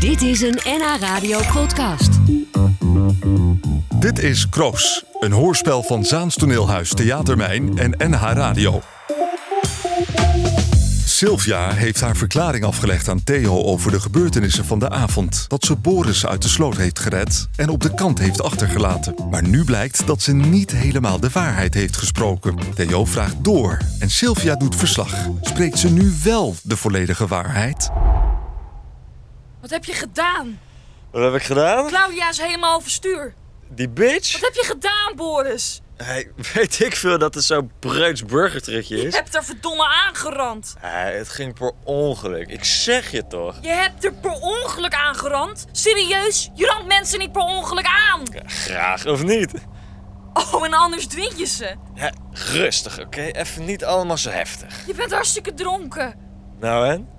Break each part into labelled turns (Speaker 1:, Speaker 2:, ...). Speaker 1: Dit is een NH Radio podcast.
Speaker 2: Dit is Kroos, een hoorspel van Zaans Toneelhuis, Theatermijn en NH Radio. Sylvia heeft haar verklaring afgelegd aan Theo over de gebeurtenissen van de avond. Dat ze Boris uit de sloot heeft gered en op de kant heeft achtergelaten. Maar nu blijkt dat ze niet helemaal de waarheid heeft gesproken. Theo vraagt door en Sylvia doet verslag. Spreekt ze nu wel de volledige waarheid?
Speaker 3: Wat heb je gedaan?
Speaker 4: Wat heb ik gedaan?
Speaker 3: Claudia is helemaal overstuur.
Speaker 4: Die bitch?
Speaker 3: Wat heb je gedaan, Boris?
Speaker 4: Hij weet ik veel dat het zo'n Breuts burgertrucje
Speaker 3: Je
Speaker 4: is.
Speaker 3: hebt er verdomme aangerand.
Speaker 4: Hij, het ging per ongeluk. Ik zeg je toch?
Speaker 3: Je hebt er per ongeluk aangerand? Serieus? Je randt mensen niet per ongeluk aan.
Speaker 4: Graag of niet?
Speaker 3: Oh, en anders dwing je ze.
Speaker 4: Ja, rustig, oké? Even niet allemaal zo heftig.
Speaker 3: Je bent hartstikke dronken.
Speaker 4: Nou en?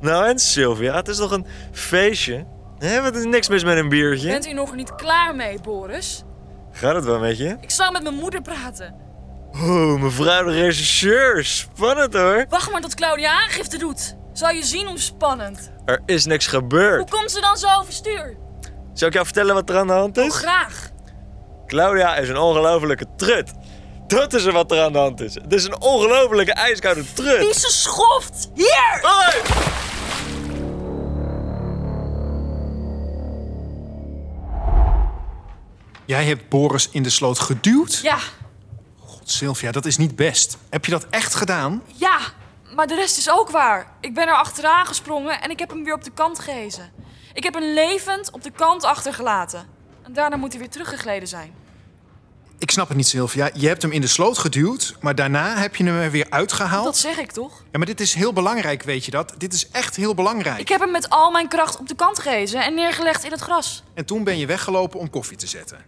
Speaker 4: Nou en, Sylvia? Het is toch een feestje? Hé, wat is niks mis met een biertje?
Speaker 3: Bent u nog niet klaar mee, Boris?
Speaker 4: Gaat het wel met je?
Speaker 3: Ik zal met mijn moeder praten.
Speaker 4: Oeh, mevrouw de regisseur. Spannend hoor.
Speaker 3: Wacht maar tot Claudia aangifte doet. Zal je zien hoe spannend.
Speaker 4: Er is niks
Speaker 3: Hoe
Speaker 4: gebeurd.
Speaker 3: komt ze dan zo overstuur?
Speaker 4: Zal ik jou vertellen wat er aan de hand
Speaker 3: Oh,
Speaker 4: is?
Speaker 3: graag.
Speaker 4: Claudia is een ongelofelijke trut. Dat is er wat er aan de hand is. Het is een ongelofelijke ijskoude
Speaker 3: Die
Speaker 4: trut.
Speaker 3: is een schoft. Hier!
Speaker 4: Hoi!
Speaker 5: Jij hebt Boris in de sloot geduwd?
Speaker 3: Ja,
Speaker 5: God, Sylvia, dat is niet best. Heb je dat echt gedaan?
Speaker 3: Ja, maar de rest is ook waar. Ik ben er achteraan gesprongen en ik heb hem weer op de kant gehezen. Ik heb hem levend op de kant achtergelaten. En daarna moet hij weer teruggegleden zijn.
Speaker 5: Ik snap het niet, Sylvia. Je hebt hem in de sloot geduwd, maar daarna heb je hem er weer uitgehaald.
Speaker 3: Dat zeg ik toch?
Speaker 5: Ja, maar dit is heel belangrijk, weet je dat? Dit is echt heel belangrijk.
Speaker 3: Ik heb hem met al mijn kracht op de kant gehezen en neergelegd in het gras.
Speaker 5: En toen ben je weggelopen om koffie te zetten.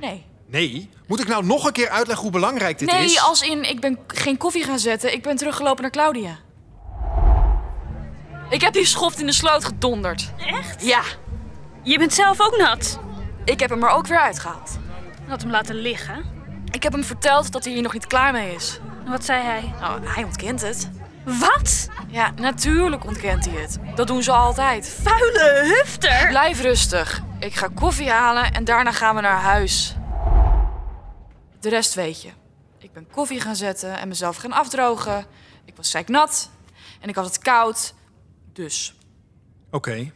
Speaker 3: Nee.
Speaker 5: Nee, moet ik nou nog een keer uitleggen hoe belangrijk dit
Speaker 3: nee,
Speaker 5: is?
Speaker 3: als in ik ben k- geen koffie gaan zetten. Ik ben teruggelopen naar Claudia. Ik heb die schoft in de sloot gedonderd. Echt? Ja,
Speaker 6: Je bent zelf ook nat.
Speaker 3: ik heb hem er ook weer uitgehaald.
Speaker 6: Had hem laten liggen.
Speaker 3: Ik heb hem verteld dat hij hier nog niet klaar mee is.
Speaker 6: En wat zei hij?
Speaker 3: Nou, hij ontkent het.
Speaker 6: Wat?
Speaker 3: Ja, natuurlijk ontkent hij het. Dat doen ze altijd.
Speaker 6: Vuile hufter!
Speaker 3: Blijf rustig. Ik ga koffie halen en daarna gaan we naar huis. De rest weet je. Ik ben koffie gaan zetten en mezelf gaan afdrogen. Ik was zeiknat en ik had het koud. Dus,
Speaker 5: Oké.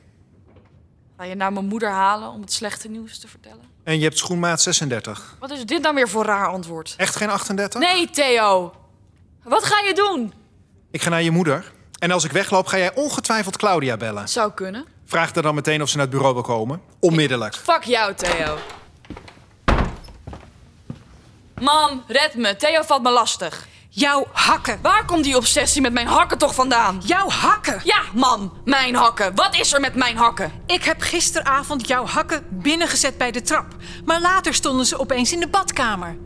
Speaker 3: ga je naar mijn moeder halen om het slechte nieuws te vertellen?
Speaker 5: En je hebt schoenmaat 36.
Speaker 3: Wat is dit nou weer voor raar antwoord?
Speaker 5: Echt geen 38?
Speaker 3: Nee, Theo. Wat ga je doen?
Speaker 5: Ik ga naar je moeder. En als ik wegloop, ga jij ongetwijfeld Claudia bellen.
Speaker 3: Zou kunnen.
Speaker 5: Vraag er dan meteen of ze naar het bureau wil komen. Onmiddellijk.
Speaker 3: Fuck jou, Theo. Mam, red me. Theo valt me lastig.
Speaker 7: Jouw hakken.
Speaker 3: Waar komt die obsessie met mijn hakken toch vandaan?
Speaker 7: Jouw hakken.
Speaker 3: Ja, mam, mijn hakken. Wat is er met mijn hakken?
Speaker 7: Ik heb gisteravond jouw hakken binnengezet bij de trap. Maar later stonden ze opeens in de badkamer.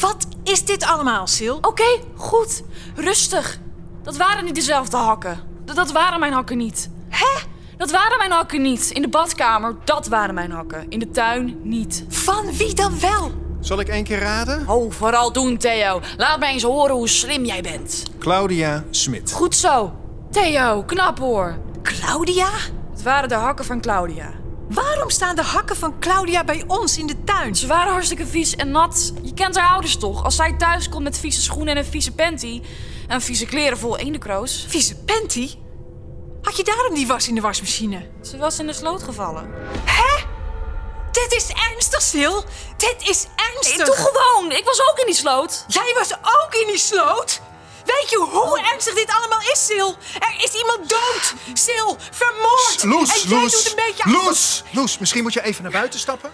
Speaker 7: Wat is dit allemaal, Sil?
Speaker 3: Oké, goed. Rustig. Dat waren niet dezelfde hakken. D- dat waren mijn hakken niet. Hè? Dat waren mijn hakken niet. In de badkamer, dat waren mijn hakken. In de tuin, niet.
Speaker 7: Van wie dan wel?
Speaker 5: Zal ik één keer raden?
Speaker 3: Oh, vooral doen, Theo. Laat mij eens horen hoe slim jij bent.
Speaker 5: Claudia Smit.
Speaker 3: Goed zo. Theo, knap hoor.
Speaker 7: Claudia?
Speaker 3: Het waren de hakken van Claudia.
Speaker 7: Waarom staan de hakken van Claudia bij ons in de tuin?
Speaker 3: Ze waren hartstikke vies en nat. Je kent haar ouders toch? Als zij thuis komt met vieze schoenen en een vieze panty... en vieze kleren vol eendekroos...
Speaker 7: Vieze panty? Had je daarom die was in de wasmachine?
Speaker 3: Ze was in de sloot gevallen.
Speaker 7: Dit is ernstig, Sil. Dit is ernstig.
Speaker 3: Doe gewoon! Ik was ook in die sloot.
Speaker 7: Jij was ook in die sloot? Weet je hoe ernstig dit allemaal is, Sil? Er is iemand dood. Sil, vermoord.
Speaker 5: Loes,
Speaker 7: en jij
Speaker 5: Loes,
Speaker 7: doet een beetje... Oh.
Speaker 5: Loes, Loes, misschien moet je even naar buiten stappen.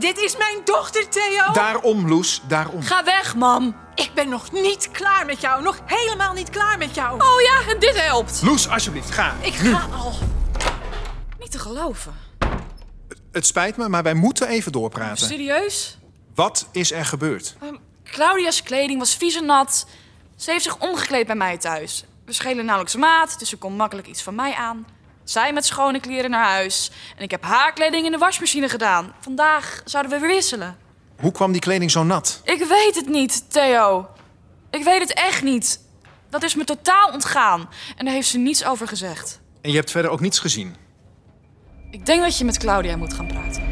Speaker 7: Dit is mijn dochter, Theo.
Speaker 5: Daarom, Loes, daarom.
Speaker 3: Ga weg, mam.
Speaker 7: Ik ben nog niet klaar met jou. Nog helemaal niet klaar met jou.
Speaker 3: Oh ja, en dit helpt.
Speaker 5: Loes, alsjeblieft, ga.
Speaker 7: ik ga al.
Speaker 3: Niet te geloven.
Speaker 5: Het spijt me, maar wij moeten even doorpraten.
Speaker 3: Serieus?
Speaker 5: Wat is er gebeurd?
Speaker 3: Ehm, Claudia's kleding was vies en nat. Ze heeft zich omgekleed bij mij thuis. We schelen nauwelijks maat, dus ze kon makkelijk iets van mij aan. Zij met schone kleren naar huis. En ik heb haar kleding in de wasmachine gedaan. Vandaag zouden we weer wisselen.
Speaker 5: Hoe kwam die kleding zo nat?
Speaker 3: Ik weet het niet, Theo. Ik weet het echt niet. Dat is me totaal ontgaan. En daar heeft ze niets over gezegd.
Speaker 5: En je hebt verder ook niets gezien.
Speaker 3: Ik denk dat je met Claudia moet gaan praten.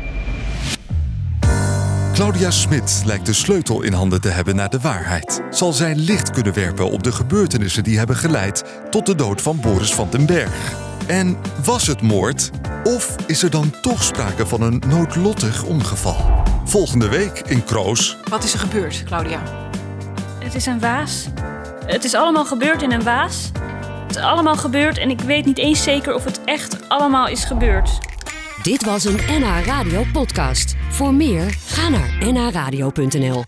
Speaker 2: Claudia Smit lijkt de sleutel in handen te hebben naar de waarheid. Zal zij licht kunnen werpen op de gebeurtenissen die hebben geleid tot de dood van Boris van den Berg? En was het moord? Of is er dan toch sprake van een noodlottig ongeval? Volgende week in Kroos.
Speaker 7: Wat is er gebeurd, Claudia?
Speaker 6: Het is een waas. Het is allemaal gebeurd in een waas. Het is allemaal gebeurd en ik weet niet eens zeker of het echt allemaal is gebeurd.
Speaker 1: Dit was een NH Radio podcast. Voor meer, ga naar nhradio.nl.